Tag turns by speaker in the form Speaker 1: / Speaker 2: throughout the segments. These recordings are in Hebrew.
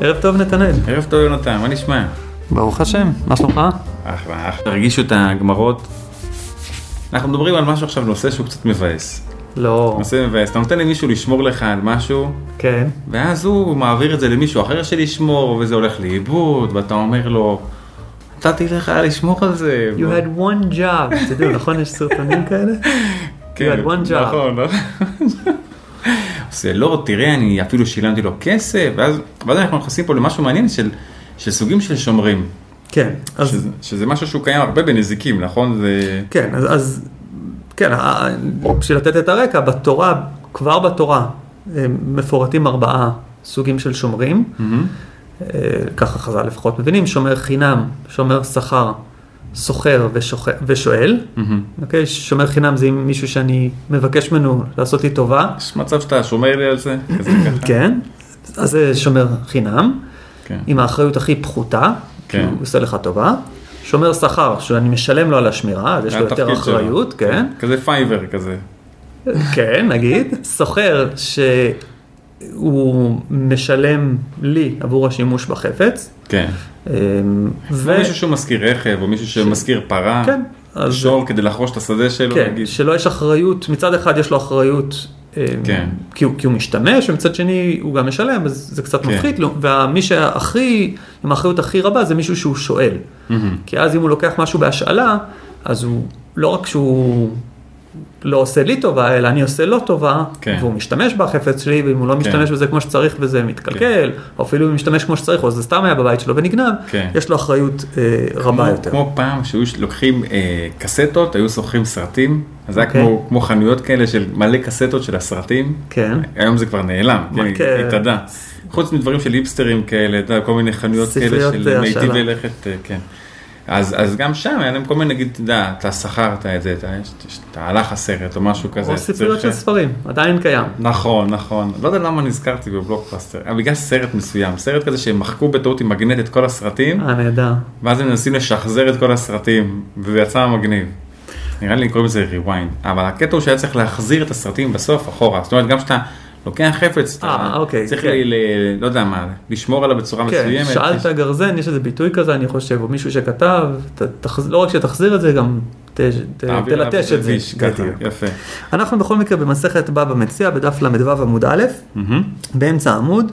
Speaker 1: ערב טוב נתנאל.
Speaker 2: ערב טוב יונתן, מה נשמע?
Speaker 1: ברוך השם, מה שלומך?
Speaker 2: אחלה, אחלה. תרגישו את הגמרות. אנחנו מדברים על משהו עכשיו, נושא שהוא קצת מבאס.
Speaker 1: לא.
Speaker 2: נושא מבאס, אתה נותן למישהו לשמור לך על משהו,
Speaker 1: כן.
Speaker 2: ואז הוא מעביר את זה למישהו אחר שישמור, וזה הולך לאיבוד, ואתה אומר לו, נתתי לך לשמור על זה.
Speaker 1: You had one job to do, נכון? יש סרטונים כאלה?
Speaker 2: כן,
Speaker 1: You had one job.
Speaker 2: נכון, נכון. זה לא, תראה, אני אפילו שילמתי לו כסף, ואז, ואז אנחנו נכנסים פה למשהו מעניין של, של סוגים של שומרים.
Speaker 1: כן. אז
Speaker 2: שזה, שזה משהו שהוא קיים הרבה בנזיקים, נכון? זה...
Speaker 1: כן, אז, אז כן, ה- ה- בשביל לתת את הרקע, בתורה, כבר בתורה, אה, מפורטים ארבעה סוגים של שומרים,
Speaker 2: מהמם.
Speaker 1: אה, ככה חז"ל לפחות מבינים, שומר חינם, שומר שכר, סוחר ושוכ- ושואל,
Speaker 2: מהמם.
Speaker 1: אוקיי? שומר חינם זה עם מישהו שאני מבקש ממנו לעשות לי טובה,
Speaker 2: יש מצב שאתה שומר לי על זה? כזה ככה.
Speaker 1: כן, אז זה שומר חינם,
Speaker 2: כן.
Speaker 1: עם האחריות הכי פחותה, כי
Speaker 2: כן.
Speaker 1: הוא עושה לך טובה. שומר שכר, שאני משלם לו על השמירה, אז יש
Speaker 2: זה
Speaker 1: לו יותר
Speaker 2: התפקיד שלו.
Speaker 1: אחריות, כן.
Speaker 2: כזה פייבר כזה.
Speaker 1: כן, נגיד, סוחר שהוא משלם לי עבור השימוש בחפץ.
Speaker 2: כן.
Speaker 1: אמ,
Speaker 2: ו...
Speaker 1: ו...
Speaker 2: מישהו שמזכיר רכב, או מישהו שמזכיר פרה,
Speaker 1: כן, אז-
Speaker 2: שור כדי לחרוש את השדה שלו,
Speaker 1: כן,
Speaker 2: נגיד.
Speaker 1: שלו יש אחריות, מצד אחד יש לו אחריות, אמ,
Speaker 2: כן.
Speaker 1: כי הוא כי הוא משתמש, ומצד שני הוא גם משלם, אז זה קצת
Speaker 2: כן.
Speaker 1: מפחית לו, ומי שהכי, עם האחריות הכי רבה זה מישהו שהוא שואל.
Speaker 2: מהמם.
Speaker 1: כי אז אם הוא לוקח משהו בהשאלה, אז הוא, לא רק שהוא לא עושה לי טובה, אלא אני עושה לו טובה,
Speaker 2: כן.
Speaker 1: והוא משתמש בחפץ שלי, ואם הוא לא משתמש בזה כמו שצריך וזה מתקלקל, או אפילו אם הוא משתמש כמו שצריך, או זה סתם היה בבית שלו ונגנב,
Speaker 2: כן.
Speaker 1: יש לו אחריות אה, רבה
Speaker 2: כמו-
Speaker 1: יותר.
Speaker 2: כמו פעם שהיו ש- לוקחים אה, קסטות, היו שוכרים סרטים, אז זה היה
Speaker 1: אוקיי.
Speaker 2: כמו- כמו חנויות כאלה של מלא קסטות של הסרטים.
Speaker 1: כן.
Speaker 2: היום זה כבר נעלם,
Speaker 1: מה, כן.
Speaker 2: כן, התאדה. חוץ מדברים של היפסטרים כאלה, אתה יודע, כל מיני חנויות כאלה
Speaker 1: ספריות,
Speaker 2: של
Speaker 1: אה,
Speaker 2: מיטיבי
Speaker 1: השאלה.
Speaker 2: לכת, אה, כן. אז, אז גם שם היה להם כל מיני, נגיד, אתה יודע, אתה שכרת את זה, אתה, יש- יש- אתה הלך הסרט או משהו כזה.
Speaker 1: או ספריות
Speaker 2: צריך-
Speaker 1: של ספרים, עדיין קיים.
Speaker 2: נכון, נכון. לא יודע למה נזכרתי בבלוקבאסטר. אה, בגלל סרט מסוים, סרט כזה שהם מחקו בטעות עם מגנט את כל הסרטים,
Speaker 1: אה, נהדר.
Speaker 2: ואז הם מנסים לשחזר את כל הסרטים, וזה יצא מגניב. נראה לי קוראים לזה rewind, אבל הקטע הוא שהיה צריך להחזיר את הסרטים בסוף אחורה, זאת אומרת גם כשאתה לוקח חפץ, אתה
Speaker 1: אה, אוקיי,
Speaker 2: צריך
Speaker 1: כן.
Speaker 2: לי, ל- לא יודע מה, לשמור עליו בצורה
Speaker 1: כן,
Speaker 2: מסוימת.
Speaker 1: שאלת גרזן, יש איזה ביטוי כזה, אני חושב, או מישהו שכתב, ת- תחז- לא רק שתחזיר את זה, גם ת- ת-
Speaker 2: תעביר עליו
Speaker 1: תלטש את זה.
Speaker 2: איש, ככה,
Speaker 1: בדיוק.
Speaker 2: יפה.
Speaker 1: אנחנו בכל מקרה במסכת בבא מציע, בדף ל"ו עמוד א',
Speaker 2: מהמם.
Speaker 1: באמצע העמוד,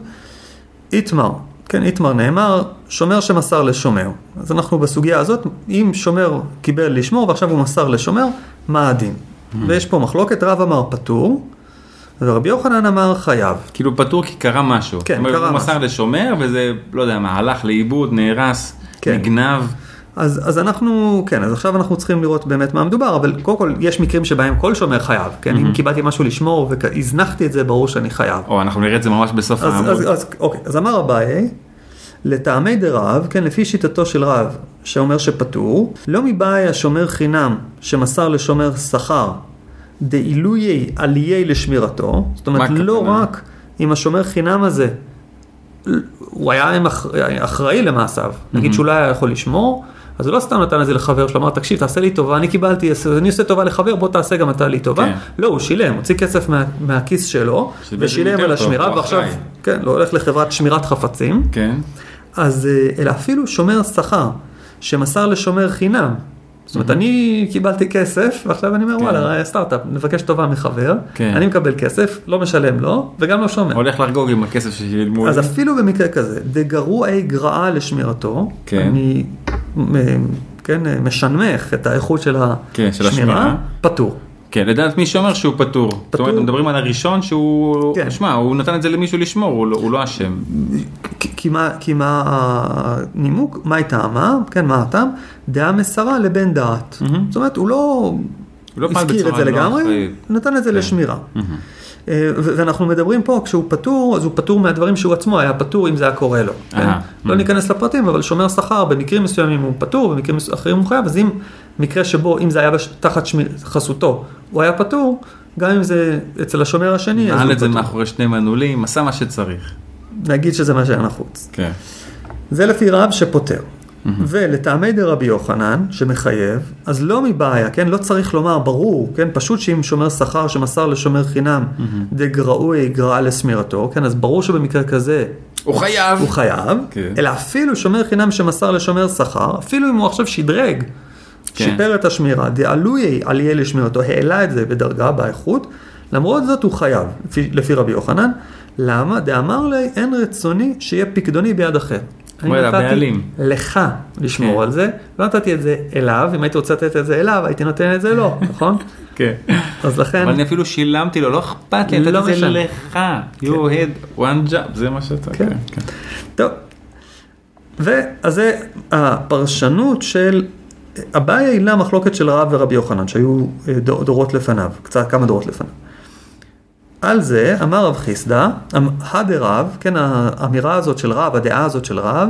Speaker 1: איתמר, כן, איתמר נאמר, שומר שמסר לשומר. אז אנחנו בסוגיה הזאת, אם שומר קיבל לשמור ועכשיו הוא מסר לשומר, מה הדין? ויש פה מחלוקת, רב אמר פטור, ורבי יוחנן אמר חייב.
Speaker 2: כאילו פטור כי קרה משהו.
Speaker 1: כן,
Speaker 2: זאת אומרת,
Speaker 1: קרה
Speaker 2: הוא
Speaker 1: משהו.
Speaker 2: מסר לשומר וזה, לא יודע מה, הלך לאיבוד, נהרס,
Speaker 1: כן.
Speaker 2: נגנב.
Speaker 1: אז, אז אנחנו, כן, אז עכשיו אנחנו צריכים לראות באמת מה מדובר, אבל קודם כל יש מקרים שבהם כל שומר חייב, כן, אם קיבלתי משהו לשמור והזנחתי את זה, ברור שאני חייב.
Speaker 2: או, אנחנו נראה את זה ממש בסוף
Speaker 1: אז,
Speaker 2: העמוד.
Speaker 1: אז, אז, אוקיי, אז אמר אביי, לטעמי דרב, כן, לפי שיטתו של רב, שאומר שפטור, לא מבאי השומר חינם שמסר לשומר שכר, דעילויי עליי לשמירתו, זאת אומרת,
Speaker 2: מה
Speaker 1: לא
Speaker 2: הכוונה?
Speaker 1: רק אם השומר חינם הזה, הוא היה עם אח- אחראי למעשיו, נגיד
Speaker 2: Mm-hmm.
Speaker 1: שהוא לא היה יכול לשמור, אז הוא לא סתם נתן את זה לחבר שלו, אמר, תקשיב, תעשה לי טובה, אני קיבלתי, אני עושה טובה לחבר, בוא תעשה גם אתה לי טובה.
Speaker 2: כן.
Speaker 1: לא, הוא שילם, הוציא כסף מה, מהכיס שלו,
Speaker 2: שזה בעצם
Speaker 1: ושילם
Speaker 2: יותר
Speaker 1: על
Speaker 2: טוב,
Speaker 1: השמירה,
Speaker 2: הוא
Speaker 1: ועכשיו,
Speaker 2: אחראי.
Speaker 1: כן, לא הולך לחברת שמירת חפצים,
Speaker 2: כן.
Speaker 1: אז, אה, אלא אפילו שומר שכר, שמסר לשומר חינם. זאת אומרת, אני קיבלתי כסף, ועכשיו אני אומר,
Speaker 2: Mm-hmm. כן.
Speaker 1: וואלה, סטארט-אפ, נבקש טובה מחבר,
Speaker 2: כן.
Speaker 1: אני מקבל כסף, לא משלם לו, וגם לא שומר.
Speaker 2: הולך לחגוג עם הכסף ששילמו.
Speaker 1: אז
Speaker 2: לי.
Speaker 1: אפילו במקרה כזה, דגרועי גרעה לשמירתו,
Speaker 2: כן.
Speaker 1: אני מ- כן, אה, משנמך את האיכות של
Speaker 2: כן, של
Speaker 1: השמירה,
Speaker 2: השמירה.
Speaker 1: פטור.
Speaker 2: כן, לדעת מי שאומר שהוא פטור. זאת אומרת, מדברים על הראשון שהוא...
Speaker 1: כן.
Speaker 2: שמע, הוא נתן את זה למישהו לשמור, הוא לא- הוא לא אשם.
Speaker 1: כי- כי מה, כי מה הנימוק, מה היא טעמה, כן, מה הטעם, דעה מסרה לבין דעת.
Speaker 2: מהמם.
Speaker 1: זאת אומרת, הוא לא
Speaker 2: הוא לא פעל
Speaker 1: הזכיר את
Speaker 2: בצורה
Speaker 1: זה
Speaker 2: לא
Speaker 1: לגמרי,
Speaker 2: אחראית. כן.
Speaker 1: נתן את זה לשמירה. אה, ו- ואנחנו מדברים פה, כשהוא פטור, אז הוא פטור מהדברים שהוא עצמו היה פטור אם זה היה קורה לו. כן?
Speaker 2: אהה.
Speaker 1: לא ניכנס לפרטים, אבל שומר שכר, במקרים מסוימים הוא פטור, במקרים מס- אחרים הוא חייב, אז אם מקרה שבו, אם זה היה בש- תחת שמי- חסותו, הוא היה פטור, גם אם זה אצל השומר השני, כן, אז
Speaker 2: נעל
Speaker 1: הוא
Speaker 2: את זה
Speaker 1: פטור.
Speaker 2: מאחורי שני מנעולים, עשה מה שצריך.
Speaker 1: נגיד שזה מה שהיה נחוץ.
Speaker 2: כן.
Speaker 1: זה לפי רב שפוטר. ולטעמי דרבי יוחנן, שמחייב, אז לא מבעיה, כן? לא צריך לומר ברור, כן? פשוט שאם שומר שכר שמסר לשומר חינם דגראוי גרעה לשמירתו, כן? אז ברור שבמקרה כזה
Speaker 2: הוא חייב.
Speaker 1: הוא חייב,
Speaker 2: כן.
Speaker 1: אלא אפילו שומר חינם שמסר לשומר שכר, אפילו אם הוא עכשיו שדרג,
Speaker 2: כן.
Speaker 1: שיפר את השמירה, דעלויי עליה לשמירתו, העלה את זה בדרגה, באיכות, למרות זאת הוא חייב, לפי, לפי רבי יוחנן. למה? דאמר לי, אין רצוני שיהיה פקדוני ביד אחר. אני
Speaker 2: וואלה,
Speaker 1: נתתי
Speaker 2: הבעלים.
Speaker 1: לך לשמור
Speaker 2: כן.
Speaker 1: על זה, לא נתתי את זה אליו, אם הייתי רוצה לתת את זה אליו, הייתי נותן את זה לו, נכון?
Speaker 2: כן.
Speaker 1: אז לכן,
Speaker 2: אבל אני אפילו שילמתי לו, לא אכפת לי,
Speaker 1: לא
Speaker 2: נתתי את זה
Speaker 1: משנה.
Speaker 2: לך. You had one job, זה מה שאתה...
Speaker 1: כן.
Speaker 2: כן, כן.
Speaker 1: טוב. ואז זה הפרשנות של, הבעיה היא למחלוקת של רב ורבי יוחנן, שהיו אה, דור- דורות לפניו, קצת כמה דורות לפניו. על זה אמר רב חיסדא, אמ- הדרב, כן, האמירה הזאת של רב, הדעה הזאת של רב,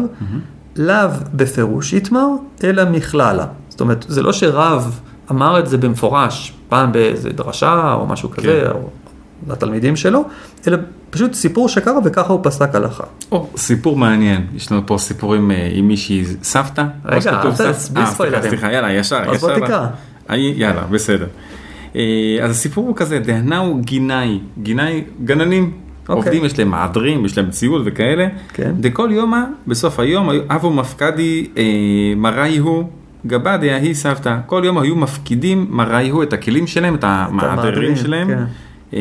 Speaker 1: לאו בפירוש יתמר, אלא מכללה. זאת אומרת, זה לא שרב אמר את זה במפורש, פעם באיזה דרשה או משהו כזה,
Speaker 2: כן.
Speaker 1: או לתלמידים שלו, אלא פשוט סיפור שקרה וככה הוא פסק הלכה.
Speaker 2: או, סיפור מעניין, יש לנו פה סיפורים אה, עם מישהי, סבתא?
Speaker 1: רגע,
Speaker 2: או שכתוב
Speaker 1: אל
Speaker 2: סבתא?
Speaker 1: תעש- בלי
Speaker 2: אה, סליחה,
Speaker 1: ספוילרים.
Speaker 2: סליחה, יאללה, ישר, ישר.
Speaker 1: אז בוא
Speaker 2: לה-
Speaker 1: תקרא.
Speaker 2: אה, יאללה, בסדר. אה, אז הסיפור הוא כזה, דהנאו גינאי, גינאי גננים.
Speaker 1: אוקיי.
Speaker 2: עובדים, יש להם מעדרים, יש להם ציוד וכאלה.
Speaker 1: כן.
Speaker 2: דכל יומא, בסוף היום, היו- אבו מפקדי אה, מראי הוא, גבה דהי סבתא. כל יום היו מפקידים מראי הוא את הכלים שלהם, את המעדרים
Speaker 1: המעדרים,
Speaker 2: שלהם.
Speaker 1: כן.
Speaker 2: אה,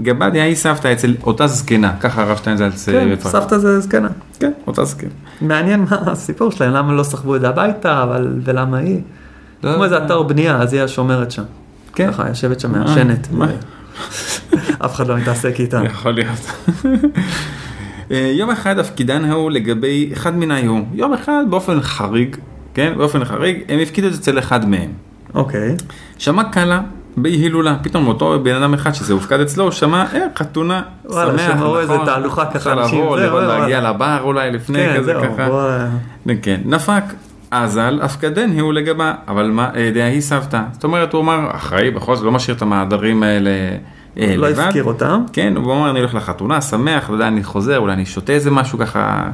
Speaker 2: גבה דהי סבתא אצל אותה זקנה, ככה הרב שטיינזלץ אה,
Speaker 1: כן,
Speaker 2: מפרט.
Speaker 1: סבתא זה זקנה.
Speaker 2: כן, אותה זקן.
Speaker 1: מעניין מה הסיפור שלהם, למה לא סחבו את זה הביתה, אבל ולמה היא.
Speaker 2: לא
Speaker 1: כמו איזה
Speaker 2: יודע.
Speaker 1: אתר בנייה, אז היא השומרת שם.
Speaker 2: כן.
Speaker 1: ככה, יושבת שם מעשנת. אה,
Speaker 2: מה? נכון.
Speaker 1: אף אחד לא מתעסק איתה.
Speaker 2: יכול להיות. אה, יום אחד הפקידן ההוא לגבי אחד מן ההוא. יום אחד באופן חריג, כן, באופן חריג, הם הפקידו את זה אצל אחד מהם.
Speaker 1: אוקיי.
Speaker 2: שמע קלה בהילולה, פתאום אותו בן אדם אחד שזה הופקד אצלו, הוא שמע, אה, חתונה,
Speaker 1: וואלה,
Speaker 2: שמח,
Speaker 1: שמעו איזה
Speaker 2: נכון,
Speaker 1: תהלוכה ככה,
Speaker 2: אפשר
Speaker 1: אנשים,
Speaker 2: לבוא,
Speaker 1: זה,
Speaker 2: לבוא,
Speaker 1: וואלה.
Speaker 2: להגיע לבר אולי לפני,
Speaker 1: כן,
Speaker 2: כזה
Speaker 1: זהו,
Speaker 2: ככה.
Speaker 1: בוא...
Speaker 2: כן, נפק. אזל אפקדן ההוא לגבה, אבל מה, אה, דהי סבתא. זאת אומרת, הוא אמר, אחראי, בכל זאת לא משאיר את המעדרים האלה אה,
Speaker 1: לא
Speaker 2: לבד.
Speaker 1: הזכיר אותם.
Speaker 2: כן, הוא אמר, אני הולך לחתונה, שמח, אתה יודע, אני חוזר, אולי אני שותה איזה משהו ככה,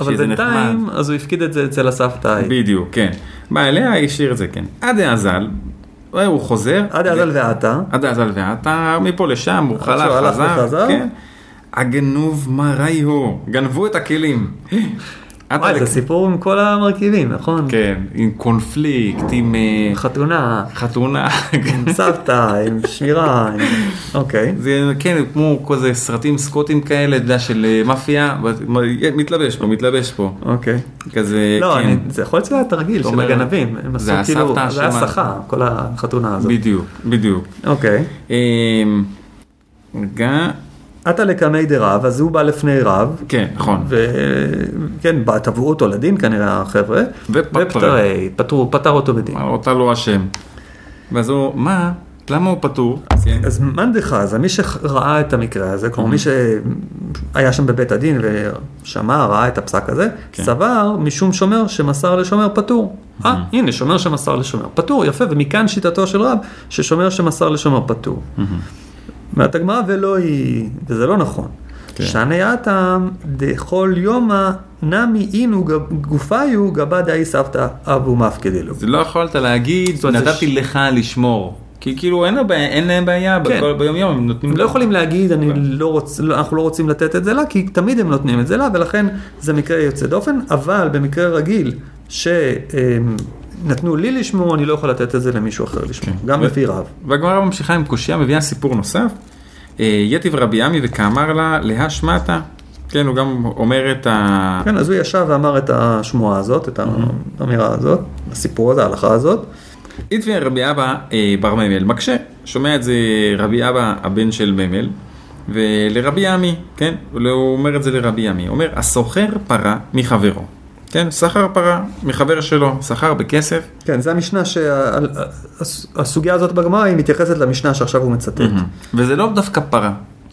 Speaker 1: אבל
Speaker 2: שזה נחמד.
Speaker 1: בינתיים, אז הוא הפקיד את זה אצל הסבתא ההיא.
Speaker 2: בדיוק, כן. בא אליה, השאיר את זה, כן. עד האזל, אה, הוא חוזר.
Speaker 1: עד עזל ועתה.
Speaker 2: עד האזל ואתה, מפה לשם, הוא
Speaker 1: שהוא
Speaker 2: חלף,
Speaker 1: הלך
Speaker 2: חזר.
Speaker 1: וחזר?
Speaker 2: כן. הגנוב מראי הוא, גנבו את הכלים. עד
Speaker 1: וואי,
Speaker 2: הלק-
Speaker 1: זה סיפור עם כל המרכיבים, נכון?
Speaker 2: כן, עם קונפליקט, עם אה,
Speaker 1: חתונה,
Speaker 2: חתונה. כן.
Speaker 1: עם סבתא, עם שמירה, עם... אוקיי.
Speaker 2: זה כן, כמו כזה סרטים סקוטים כאלה, אתה יודע, של אה, מאפיה, ואת- מ- מתלבש פה, מתלבש פה.
Speaker 1: אוקיי.
Speaker 2: כזה,
Speaker 1: לא,
Speaker 2: כן,
Speaker 1: אני, זה יכול להיות שזה היה תרגיל
Speaker 2: זאת
Speaker 1: של
Speaker 2: אומרת,
Speaker 1: הגנבים, הם עשו
Speaker 2: זה
Speaker 1: כאילו,
Speaker 2: הסבתא
Speaker 1: זה היה
Speaker 2: אשמה.
Speaker 1: סחה, כל החתונה הזאת.
Speaker 2: בדיוק, בדיוק.
Speaker 1: אוקיי.
Speaker 2: אה, רגע,
Speaker 1: עתה לקמי דרב, אז הוא בא לפני רב,
Speaker 2: כן, נכון.
Speaker 1: וכן, תבעו אותו לדין כנראה החבר'ה,
Speaker 2: ופטרי.
Speaker 1: ופטרי, פטרו, פטר אותו בדין.
Speaker 2: אותה לא אשם. ואז הוא, מה? למה הוא פטור? כן. Mm-hmm.
Speaker 1: אז מאן דחזה, מי שראה את המקרה הזה, כלומר מי שהיה שם בבית הדין ושמע, ראה את הפסק הזה,
Speaker 2: כן. Mm-hmm.
Speaker 1: סבר משום שומר שמסר לשומר פטור. אה, הנה, שומר שמסר לשומר פטור, יפה, ומכאן שיטתו של רב, ששומר שמסר לשומר פטור.
Speaker 2: Mm-hmm.
Speaker 1: אומרת הגמרא, ולא היא, וזה לא נכון.
Speaker 2: כן.
Speaker 1: שני עתם דכל יומא נמי אינו גב- גופיו גבה דאי סבתא אבו מפקדי לו.
Speaker 2: זה לא יכולת להגיד,
Speaker 1: זאת אומרת, זה
Speaker 2: נתתי
Speaker 1: ש-
Speaker 2: לך לשמור. כי כאילו אין לה בעיה- אין להם בעיה,
Speaker 1: כן.
Speaker 2: בכל- ביום יום הם נותנים...
Speaker 1: הם לא יכולים להגיד, אני
Speaker 2: כן.
Speaker 1: לא רוצ, לא, אנחנו לא רוצים לתת את זה לה, כי תמיד הם נותנים את זה לה, ולכן זה מקרה יוצא דופן, אבל במקרה רגיל, שנתנו לי לשמור, אני לא יכול לתת את זה למישהו אחר לשמור,
Speaker 2: כן.
Speaker 1: גם
Speaker 2: ו-
Speaker 1: לפי רב.
Speaker 2: והגמרא ממשיכה עם קושייה, מביאה סיפור נוסף. אה, יתיב רבי עמי וכאמר לה, להא שמעתה. כן, הוא גם אומר את ה...
Speaker 1: כן, אז הוא ישב ואמר את השמועה הזאת, את האמירה הזאת, הסיפור הזה, ההלכה הזאת.
Speaker 2: איתבי רבי אבא אה, בר מימל מקשה, שומע את זה רבי אבא הבן של מימל, ולרבי עמי, כן, הוא אומר את זה לרבי עמי, הוא אומר, הסוחר פרה מחברו, כן, סחר פרה מחבר שלו, סחר בכסף,
Speaker 1: כן, זה המשנה שהסוגיה הזאת בגמרא היא מתייחסת למשנה שעכשיו הוא מצטט.
Speaker 2: וזה לא דווקא פרה,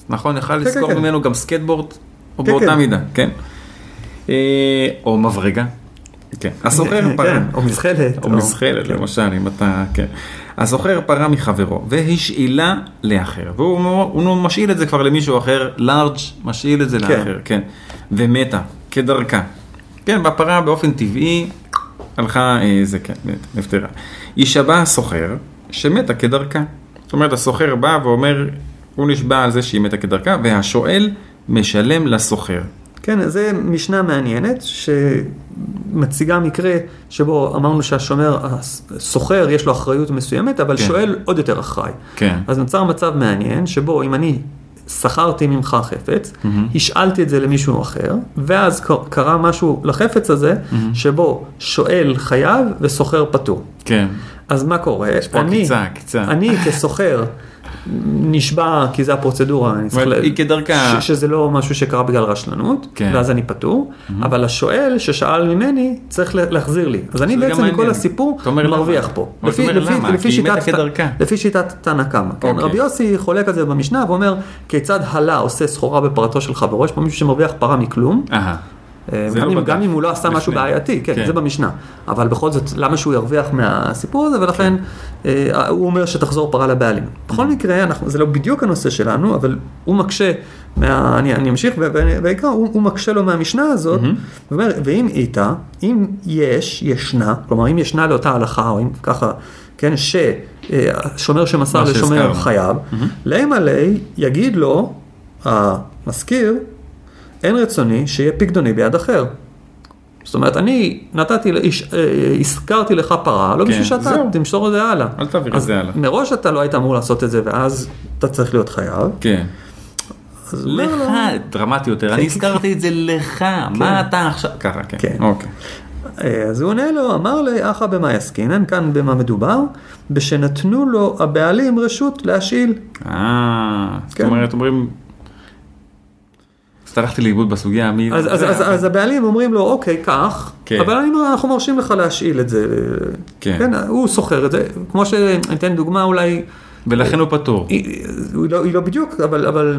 Speaker 2: נכון? יכל
Speaker 1: כן,
Speaker 2: לזכור
Speaker 1: כן.
Speaker 2: ממנו גם סקטבורד, או
Speaker 1: כן,
Speaker 2: באותה
Speaker 1: כן.
Speaker 2: מידה, כן? אה, או מברגה, כן, הסוחר
Speaker 1: כן,
Speaker 2: פרה.
Speaker 1: או מזחלת.
Speaker 2: או מזחלת למשל, אם אתה, כן. הסוחר פרה מחברו והשאילה לאחר, והוא מ- הוא משאיל את זה כבר למישהו אחר, לארג' משאיל את זה
Speaker 1: כן.
Speaker 2: לאחר, כן. ומתה, כדרכה. כן, והפרה באופן טבעי הלכה, אה, זה כן, נפטרה. יישבע הסוחר שמתה כדרכה. זאת אומרת, הסוחר בא ואומר, הוא נשבע על זה שהיא מתה כדרכה, והשואל משלם לסוחר.
Speaker 1: כן, זה משנה מעניינת שמציגה מקרה שבו אמרנו שהשומר, הסוחר, יש לו אחריות מסוימת, אבל
Speaker 2: כן.
Speaker 1: כן. שואל עוד יותר אחראי.
Speaker 2: כן.
Speaker 1: אז נוצר מצב מעניין שבו אם אני שכרתי ממך חפץ, mm-hmm. השאלתי את זה למישהו אחר, ואז ק- קרה משהו לחפץ הזה, mm-hmm. שבו שואל חייב וסוחר פטור.
Speaker 2: כן.
Speaker 1: אז מה קורה? יש
Speaker 2: פה עקיצה, עקיצה.
Speaker 1: אני כסוחר נשבע, כי זה הפרוצדורה, אני צריך...
Speaker 2: אבל
Speaker 1: ל-
Speaker 2: היא כדרכה.
Speaker 1: ש- שזה לא משהו שקרה בגלל רשלנות,
Speaker 2: כן.
Speaker 1: ואז אני פטור, אבל השואל ששאל ממני צריך לה- להחזיר לי. אז אני
Speaker 2: שזה גם
Speaker 1: בעצם מכל
Speaker 2: מעניין.
Speaker 1: הסיפור
Speaker 2: אתה אומר
Speaker 1: מרוויח
Speaker 2: למה?
Speaker 1: פה.
Speaker 2: אבל אתה אומר למה? כי היא מתה
Speaker 1: שיטת-
Speaker 2: כדרכה.
Speaker 1: לפי שיטת תנא קמא. כן,
Speaker 2: אוקיי.
Speaker 1: רבי יוסי חולק על זה במשנה ואומר, כיצד הלה עושה סחורה בפרתו של חברו, יש פה מישהו שמרוויח פרה מכלום.
Speaker 2: אהה.
Speaker 1: אה,
Speaker 2: זה
Speaker 1: גם,
Speaker 2: לא
Speaker 1: אם,
Speaker 2: בדף.
Speaker 1: גם אם הוא לא עשה משהו
Speaker 2: לפני.
Speaker 1: בעייתי, כן,
Speaker 2: כן.
Speaker 1: כן, זה במשנה. אבל בכל זאת, למה שהוא ירוויח מהסיפור הזה, ולכן
Speaker 2: כן.
Speaker 1: אה, הוא אומר שתחזור פרה לבעלים.
Speaker 2: Mm-hmm.
Speaker 1: בכל מקרה, אנחנו, זה לא בדיוק הנושא שלנו, אבל הוא מקשה, מה, אני, אני אמשיך, ו- ו- בעיקר הוא, הוא מקשה לו מהמשנה הזאת,
Speaker 2: Mm-hmm.
Speaker 1: ואומר, ואם איתה, אם יש, ישנה, כלומר אם ישנה לאותה הלכה, או אם ככה, כן, ששומר שמסר
Speaker 2: מה
Speaker 1: לשומר
Speaker 2: שהזכרנו. Mm-hmm.
Speaker 1: חייב, להם עלי יגיד לו המזכיר, אין רצוני שיהיה פקדוני ביד אחר. זאת אומרת, אני נתתי, לאיש- אה, הזכרתי לך פרה, לא בשביל שאתה
Speaker 2: כן, זהו.
Speaker 1: תמסור את זה הלאה.
Speaker 2: אל תעביר את
Speaker 1: אז
Speaker 2: זה הלאה.
Speaker 1: מראש אתה לא היית אמור לעשות את זה, ואז אתה צריך להיות חייב.
Speaker 2: כן.
Speaker 1: אז הוא אומר לו-
Speaker 2: לך, דרמטי יותר, אני הזכרתי את זה לך, מה אתה עכשיו, ככה, כן,
Speaker 1: כן.
Speaker 2: אוקיי.
Speaker 1: אה, אז הוא עונה לו, אמר לי, אחא במה יסקינן, כאן במה מדובר, בשנתנו לו הבעלים רשות להשאיל.
Speaker 2: אה, זאת
Speaker 1: כן.
Speaker 2: אומרת, אומרים, אז הלכתי לאיבוד בסוגיה, מי...
Speaker 1: אז, אז, אז, אז הבעלים אומרים לו, אוקיי, קח,
Speaker 2: כן.
Speaker 1: כן. אבל אני, אומר, אנחנו מרשים לך להשאיל את זה.
Speaker 2: כן.
Speaker 1: הוא סוחר את זה, כמו שאני אתן דוגמה אולי,
Speaker 2: ולכן הוא פטור.
Speaker 1: היא, היא, לא, היא לא בדיוק, אבל, אבל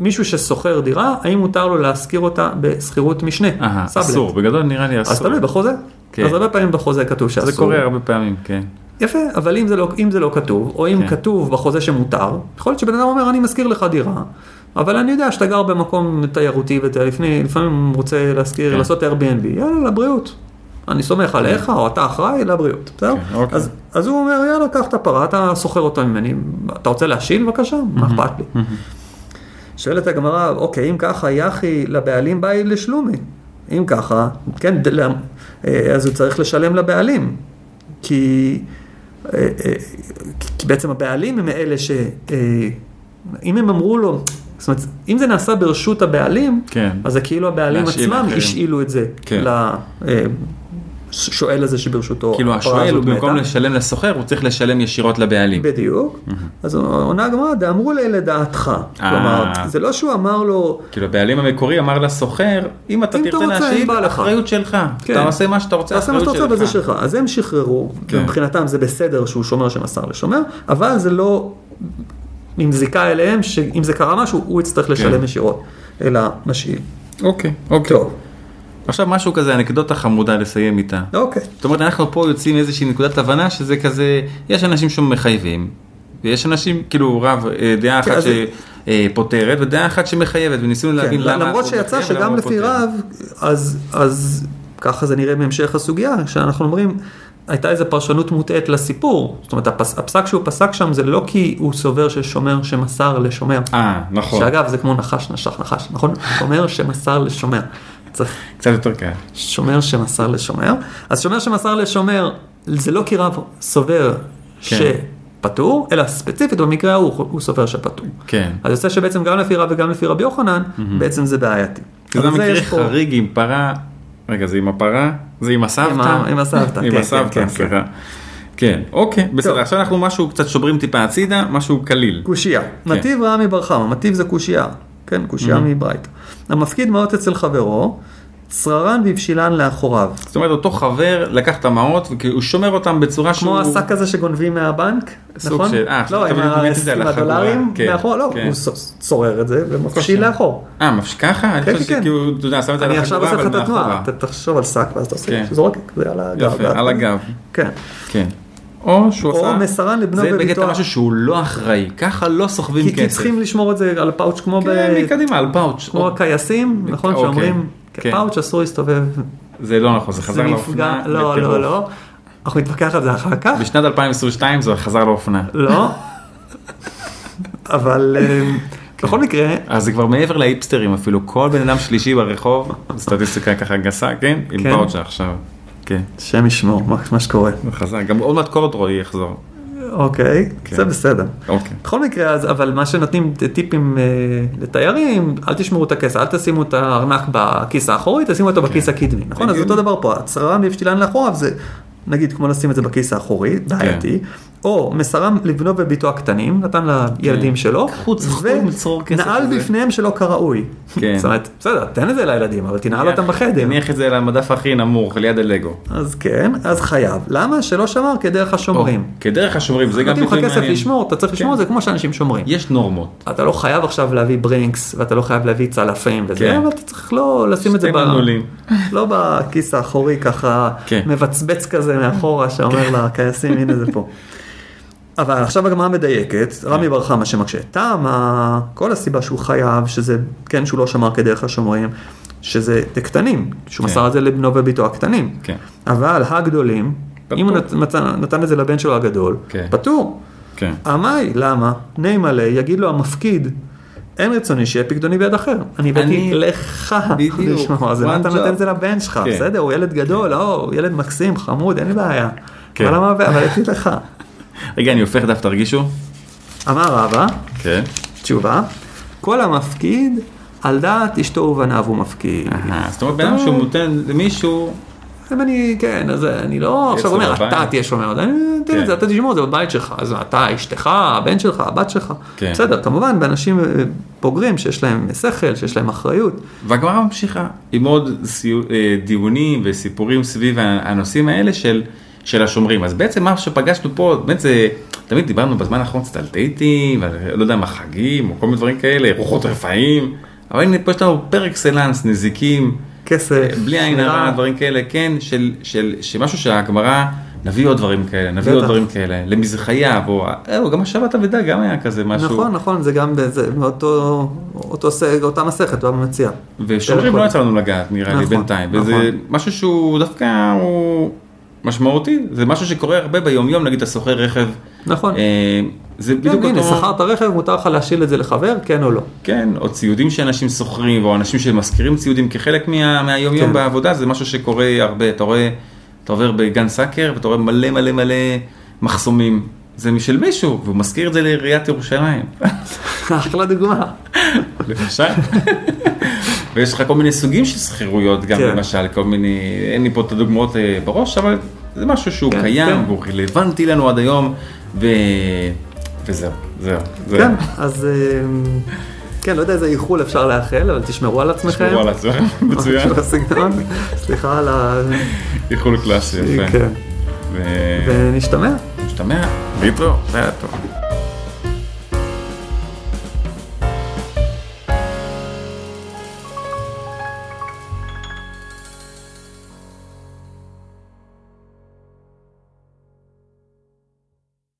Speaker 1: מישהו ששוכר דירה, האם מותר לו להשכיר אותה בשכירות משנה?
Speaker 2: אהה,
Speaker 1: סאבלט.
Speaker 2: אסור, בגדול נראה לי
Speaker 1: אה, אז
Speaker 2: אסור.
Speaker 1: תלוי בחוזה.
Speaker 2: כן.
Speaker 1: אז הרבה פעמים בחוזה כתוב שאסור.
Speaker 2: זה קורה הרבה פעמים, כן.
Speaker 1: יפה, אבל אם זה לא, אם זה לא כתוב, או אם
Speaker 2: כן.
Speaker 1: כן. כתוב בחוזה שמותר, יכול להיות שבן אדם אומר, אני משכיר לך דירה, אבל אני יודע שאתה גר במקום תיירותי, ואתה לפני, לפעמים רוצה להשכיר,
Speaker 2: כן.
Speaker 1: כן. לעשות Airbnb, יאללה, לבריאות. אני סומך עליך, או אתה אחראי, לבריאות, בסדר?
Speaker 2: כן, אוקיי.
Speaker 1: אז, אז הוא אומר, יאללה, קח את הפרה, אתה סוחר אותה ממני, אתה רוצה להשיל? בבקשה, מה אכפת לי? שואלת הגמרא, אוקיי, אם ככה, יחי לבעלים באי לשלומי. אם ככה, כן, ד- למ- אה, אז הוא צריך לשלם לבעלים. כי, אה, אה, כי בעצם הבעלים הם אלה ש... אה, אם הם אמרו לו, זאת אומרת, אם זה נעשה ברשות הבעלים,
Speaker 2: כן.
Speaker 1: אז זה כאילו הבעלים
Speaker 2: להשאיל
Speaker 1: עצמם
Speaker 2: לאחרים.
Speaker 1: השאילו את זה
Speaker 2: כן.
Speaker 1: לשואל הזה שברשותו.
Speaker 2: כאילו
Speaker 1: הפרה
Speaker 2: השואל, הוא
Speaker 1: הזאת
Speaker 2: במקום
Speaker 1: מתה.
Speaker 2: לשלם לסוחר, הוא צריך לשלם ישירות לבעלים.
Speaker 1: בדיוק. אז עונה הגמרא, דאמרו לי לדעתך.
Speaker 2: אה.
Speaker 1: כלומר, זה לא שהוא אמר לו,
Speaker 2: כאילו הבעלים המקורי אמר לסוחר, אם אתה
Speaker 1: אם אתה
Speaker 2: תרצה
Speaker 1: רוצה,
Speaker 2: להשאיל,
Speaker 1: אם בא לך."
Speaker 2: אחריות שלך.
Speaker 1: כן.
Speaker 2: אתה עושה מה שאתה רוצה,
Speaker 1: תעשה מה שאתה רוצה
Speaker 2: אחריות
Speaker 1: וזה
Speaker 2: שלך.
Speaker 1: שלך. אז הם שחררו,
Speaker 2: כן.
Speaker 1: מבחינתם זה בסדר שהוא שומר שמסר לשומר, אבל זה לא עם זיקה אליהם, שאם זה קרה משהו, הוא יצטרך
Speaker 2: כן.
Speaker 1: לשלם ישירות, אלא משאיל.
Speaker 2: אוקיי, אוקיי.
Speaker 1: טוב,
Speaker 2: עכשיו משהו כזה, אנקדוטה חמודה לסיים איתה.
Speaker 1: אוקיי.
Speaker 2: זאת אומרת, אנחנו פה יוצאים מאיזושהי נקודת הבנה שזה כזה, יש אנשים שמחייבים, ויש אנשים, כאילו רב, אה, דעה
Speaker 1: כן,
Speaker 2: אחת
Speaker 1: אז-
Speaker 2: שפותרת ודעה אחת שמחייבת, וניסינו
Speaker 1: כן,
Speaker 2: להבין למה...
Speaker 1: למרות
Speaker 2: הוא
Speaker 1: שיצא
Speaker 2: מחייב ולמה
Speaker 1: שגם
Speaker 2: הוא
Speaker 1: לפי
Speaker 2: פותר.
Speaker 1: רב, אז, אז ככה זה נראה מהמשך הסוגיה, שאנחנו אומרים, הייתה איזו פרשנות מוטעית לסיפור, זאת אומרת הפס, הפסק שהוא פסק שם זה לא כי הוא סובר ששומר שמסר לשומר,
Speaker 2: אה, נכון,
Speaker 1: שאגב זה כמו נחש נשך נחש, נכון? שומר שמסר לשומר, צריך
Speaker 2: קצת יותר קל.
Speaker 1: שומר שמסר לשומר, אז שומר שמסר לשומר זה לא כי רב סובר
Speaker 2: כן.
Speaker 1: שפטור, אלא ספציפית במקרה ההוא הוא- הוא סובר שפטור.
Speaker 2: כן.
Speaker 1: אז יוצא שבעצם גם לפי רב וגם לפי רבי יוחנן, בעצם זה בעייתי.
Speaker 2: זה
Speaker 1: אבל
Speaker 2: מקרה
Speaker 1: יש פה-
Speaker 2: חריג עם פרה, רגע, זה עם הפרה? זה עם
Speaker 1: עם
Speaker 2: הסבתא?
Speaker 1: ה- עם הסבתא,
Speaker 2: עם
Speaker 1: כן,
Speaker 2: הסבתא,
Speaker 1: כן, כן,
Speaker 2: סליחה. כן, אוקיי, בסדר,
Speaker 1: טוב.
Speaker 2: עכשיו אנחנו משהו קצת שוברים טיפה הצידה, משהו קליל.
Speaker 1: קושייה. מטיב רע מבר חמא, מטיב זה קושייה. כן, קושייה מברייתא. המפקיד מעות אצל חברו, צררן ובשילן לאחוריו.
Speaker 2: זאת אומרת, אותו חבר לקח את המעות, והוא שומר אותן בצורה שהוא...
Speaker 1: כמו השק הזה שגונבים מהבנק,
Speaker 2: סוג
Speaker 1: נכון?
Speaker 2: של- אה,
Speaker 1: לא,
Speaker 2: עכשיו
Speaker 1: עם
Speaker 2: אתה באמת את זה
Speaker 1: ה-
Speaker 2: על
Speaker 1: עם
Speaker 2: החגורה,
Speaker 1: הדולרים
Speaker 2: כן,
Speaker 1: מאחור, לא,
Speaker 2: כן.
Speaker 1: הוא ס- צורר את זה ומפשיל לאחור.
Speaker 2: אה, מפש- ככה? אני
Speaker 1: כן,
Speaker 2: חושב
Speaker 1: כן.
Speaker 2: שכאילו, אתה יודע, שם את זה על
Speaker 1: אני עכשיו
Speaker 2: החגורה,
Speaker 1: עושה לך את
Speaker 2: אבל
Speaker 1: התנועה,
Speaker 2: מאחורה.
Speaker 1: ת- תחשוב על שק ואז אתה
Speaker 2: כן.
Speaker 1: עושה, זורק, זה על הגב.
Speaker 2: יפה,
Speaker 1: ואז-
Speaker 2: על הגב.
Speaker 1: כן.
Speaker 2: כן. או שהוא
Speaker 1: או
Speaker 2: עשה...
Speaker 1: מסרן לבנו
Speaker 2: זה בקטע
Speaker 1: בביתו.
Speaker 2: משהו שהוא לא אחראי, ככה לא סוחבים
Speaker 1: כי
Speaker 2: כסף.
Speaker 1: כי צריכים לשמור את זה על פאוץ' כמו ב...
Speaker 2: כן, מקדימה, על פאוץ'.
Speaker 1: כמו
Speaker 2: או-
Speaker 1: הקייסים, נכון,
Speaker 2: אוקיי,
Speaker 1: שאומרים,
Speaker 2: כן.
Speaker 1: פאוץ' אסור להסתובב
Speaker 2: זה לא נכון, זה חזר
Speaker 1: זה
Speaker 2: לאופנה.
Speaker 1: נפגע, לא,
Speaker 2: בטירוף.
Speaker 1: לא, לא. אנחנו נתווכח על זה אחר כך.
Speaker 2: בשנת 2022 זה חזר לאופנה.
Speaker 1: לא. אבל אמ,
Speaker 2: כן.
Speaker 1: בכל מקרה,
Speaker 2: אז זה כבר מעבר להיפסטרים אפילו, כל בן אדם שלישי ברחוב, סטטיסטיקה ככה גסה, כן? עם
Speaker 1: כן.
Speaker 2: פאוצ'ה עכשיו. כן.
Speaker 1: השם ישמור מה- מה שקורה.
Speaker 2: חזק, גם עוד מעט קורדרוי יחזור.
Speaker 1: אוקיי,
Speaker 2: כן.
Speaker 1: זה בסדר.
Speaker 2: אוקיי.
Speaker 1: בכל מקרה, אז, אבל מה שנותנים ט- טיפים אה, לתיירים, אל תשמרו את הכס, אל תשימו את הארנק בכיס האחורי, תשימו אותו
Speaker 2: כן.
Speaker 1: בכיס הקדמי, נכון? אז
Speaker 2: הגיוני.
Speaker 1: אותו דבר פה, הצרם לבשילן לאחוריו זה, נגיד, כמו לשים את זה בכיס האחורי,
Speaker 2: כן.
Speaker 1: בעייתי, או מסרם לבנו וביתו הקטנים, נתן
Speaker 2: כן.
Speaker 1: לילדים שלו,
Speaker 2: קחו, צחקו עם צרור כסף
Speaker 1: ונעל
Speaker 2: הזה.
Speaker 1: בפניהם שלא כראוי.
Speaker 2: כן.
Speaker 1: זאת אומרת, בסדר, תן את זה לילדים, אבל תנעל אותם בחדר.
Speaker 2: תניח את זה למדף הכי נמוך, ליד הלגו.
Speaker 1: אז כן, אז חייב. למה? שלא שמר כדרך השומרים.
Speaker 2: או, אוקיי, כדרך השומרים, זה
Speaker 1: אם
Speaker 2: גם
Speaker 1: נותנים לך
Speaker 2: ביטוי
Speaker 1: כסף
Speaker 2: מעניין. כן.
Speaker 1: לשמור, אתה צריך לשמור את זה כמו שאנשים שומרים.
Speaker 2: יש נורמות.
Speaker 1: אתה לא חייב עכשיו להביא ברינקס, ואתה לא חייב להביא צלפים וזה,
Speaker 2: כן.
Speaker 1: אבל אתה צריך לא לשים את זה
Speaker 2: שתי מנעולים.
Speaker 1: לא בכיס האחורי ככה,
Speaker 2: כן.
Speaker 1: מבצבץ כזה מאחורה, שאומר לכייסים, הנה זה פה. אבל עכשיו הגמרא מדייקת,
Speaker 2: כן.
Speaker 1: רמי בר חמא שמקשה. טעם, ה- כל הסיבה שהוא חייב, שזה, כן, שהוא לא שמר כדרך השומרים, שזה לקטנים, שהוא
Speaker 2: כן.
Speaker 1: מסר את זה לבנו וביתו הקטנים.
Speaker 2: כן.
Speaker 1: אבל הגדולים,
Speaker 2: פטור.
Speaker 1: אם הוא נת- נתן- נתן את זה לבן שלו הגדול,
Speaker 2: כן.
Speaker 1: פטור.
Speaker 2: כן.
Speaker 1: עמאי, למה? נימלא, יגיד לו המפקיד, אין רצוני שיהיה פקדוני ביד אחר. אני הבאתי
Speaker 2: אני-
Speaker 1: לך
Speaker 2: בדיוק,
Speaker 1: לשמור, אז
Speaker 2: one
Speaker 1: למה אתה
Speaker 2: job.
Speaker 1: נותן את זה לבן שלך?
Speaker 2: כן.
Speaker 1: בסדר, הוא ילד גדול, לא, הוא ילד מקסים, חמוד, אין לי בעיה.
Speaker 2: כן.
Speaker 1: אבל למה, אבל הבאתי לך.
Speaker 2: רגע, אני הופך דף, תרגישו?
Speaker 1: אמר רבא,
Speaker 2: כן.
Speaker 1: תשובה, כל המפקיד, על דעת אשתו ובניו הוא מפקיד.
Speaker 2: אה, זאת אומרת, בן אדם שהוא נותן למישהו,
Speaker 1: אם אני, כן, אז אני לא עכשיו
Speaker 2: לו
Speaker 1: אומר,
Speaker 2: בבית.
Speaker 1: אתה תהיה שומר, אני נותן
Speaker 2: כן.
Speaker 1: את זה, אתה תשמור את זה בבית שלך, אז אתה, אשתך, הבן שלך, הבת שלך.
Speaker 2: כן.
Speaker 1: בסדר, כמובן, באנשים אה, בוגרים שיש להם שכל, שיש להם אחריות.
Speaker 2: והגמרא ממשיכה עם עוד סיו- אה, דיונים וסיפורים סביב ה- הנושאים האלה של, של השומרים. אז בעצם מה שפגשנו פה, באמת זה, תמיד דיברנו בזמן האחרון קצת על דייטים, ועל, לא יודע מה חגים, או כל מיני דברים כאלה, רוחות רפאים, אבל הנה פה יש לנו פר אקסלנס, נזיקים,
Speaker 1: כסף,
Speaker 2: אה, בלי עין הרע,
Speaker 1: שמירה.
Speaker 2: דברים כאלה, כן, של, של, שמשהו שהגמרא, נביא עוד דברים כאלה, נביא עוד
Speaker 1: בטח.
Speaker 2: דברים כאלה, למזחייו, או אה, גם השבת אבדה גם היה כזה משהו.
Speaker 1: נכון, נכון, זה גם בזה, מאותו, אותו, ס- אותה מסכת, הוא המציע.
Speaker 2: ושומרים
Speaker 1: נכון.
Speaker 2: לא יצא לנו לגעת נראה לי
Speaker 1: נכון,
Speaker 2: בינתיים, וזה
Speaker 1: נכון.
Speaker 2: משהו שהוא דווקא הוא משמעותי, זה משהו שקורה הרבה ביומיום, נגיד אתה שוכר רכב,
Speaker 1: נכון.
Speaker 2: אה, זה בדיוק
Speaker 1: כן, הנה,
Speaker 2: אותו,
Speaker 1: שכרת רכב, מותר לך להשאיל את זה לחבר, כן או לא.
Speaker 2: כן, או ציודים שאנשים שוכרים, או אנשים שמשכירים ציודים כחלק מה, מהיומיום
Speaker 1: כן.
Speaker 2: בעבודה, זה משהו שקורה הרבה, אתה רואה, אתה עובר בגן סאקר ואתה רואה מלא מלא מלא מחסומים, זה משל מישהו, והוא משכיר את זה לעיריית ירושלים.
Speaker 1: אחלה דוגמה.
Speaker 2: למשל. ויש לך כל מיני סוגים של שכירויות גם
Speaker 1: כן.
Speaker 2: למשל, כל מיני, אין לי פה את הדוגמאות אה, בראש, אבל זה משהו שהוא
Speaker 1: כן,
Speaker 2: קיים,
Speaker 1: כן.
Speaker 2: והוא רלוונטי לנו עד היום, ו... וזהו, זהו, זהו.
Speaker 1: כן, אז אמ, כן, לא יודע איזה איחול אפשר לאחל, אבל תשמרו על עצמכם.
Speaker 2: תשמרו על עצמכם, מצוין,
Speaker 1: משהו אוקיי, בסגנון. סליחה על ה...
Speaker 2: איחול קלאסי, יפה. Ε,
Speaker 1: כן. ונשתמע.
Speaker 2: ומשתמע, להתראות, זה היה טוב.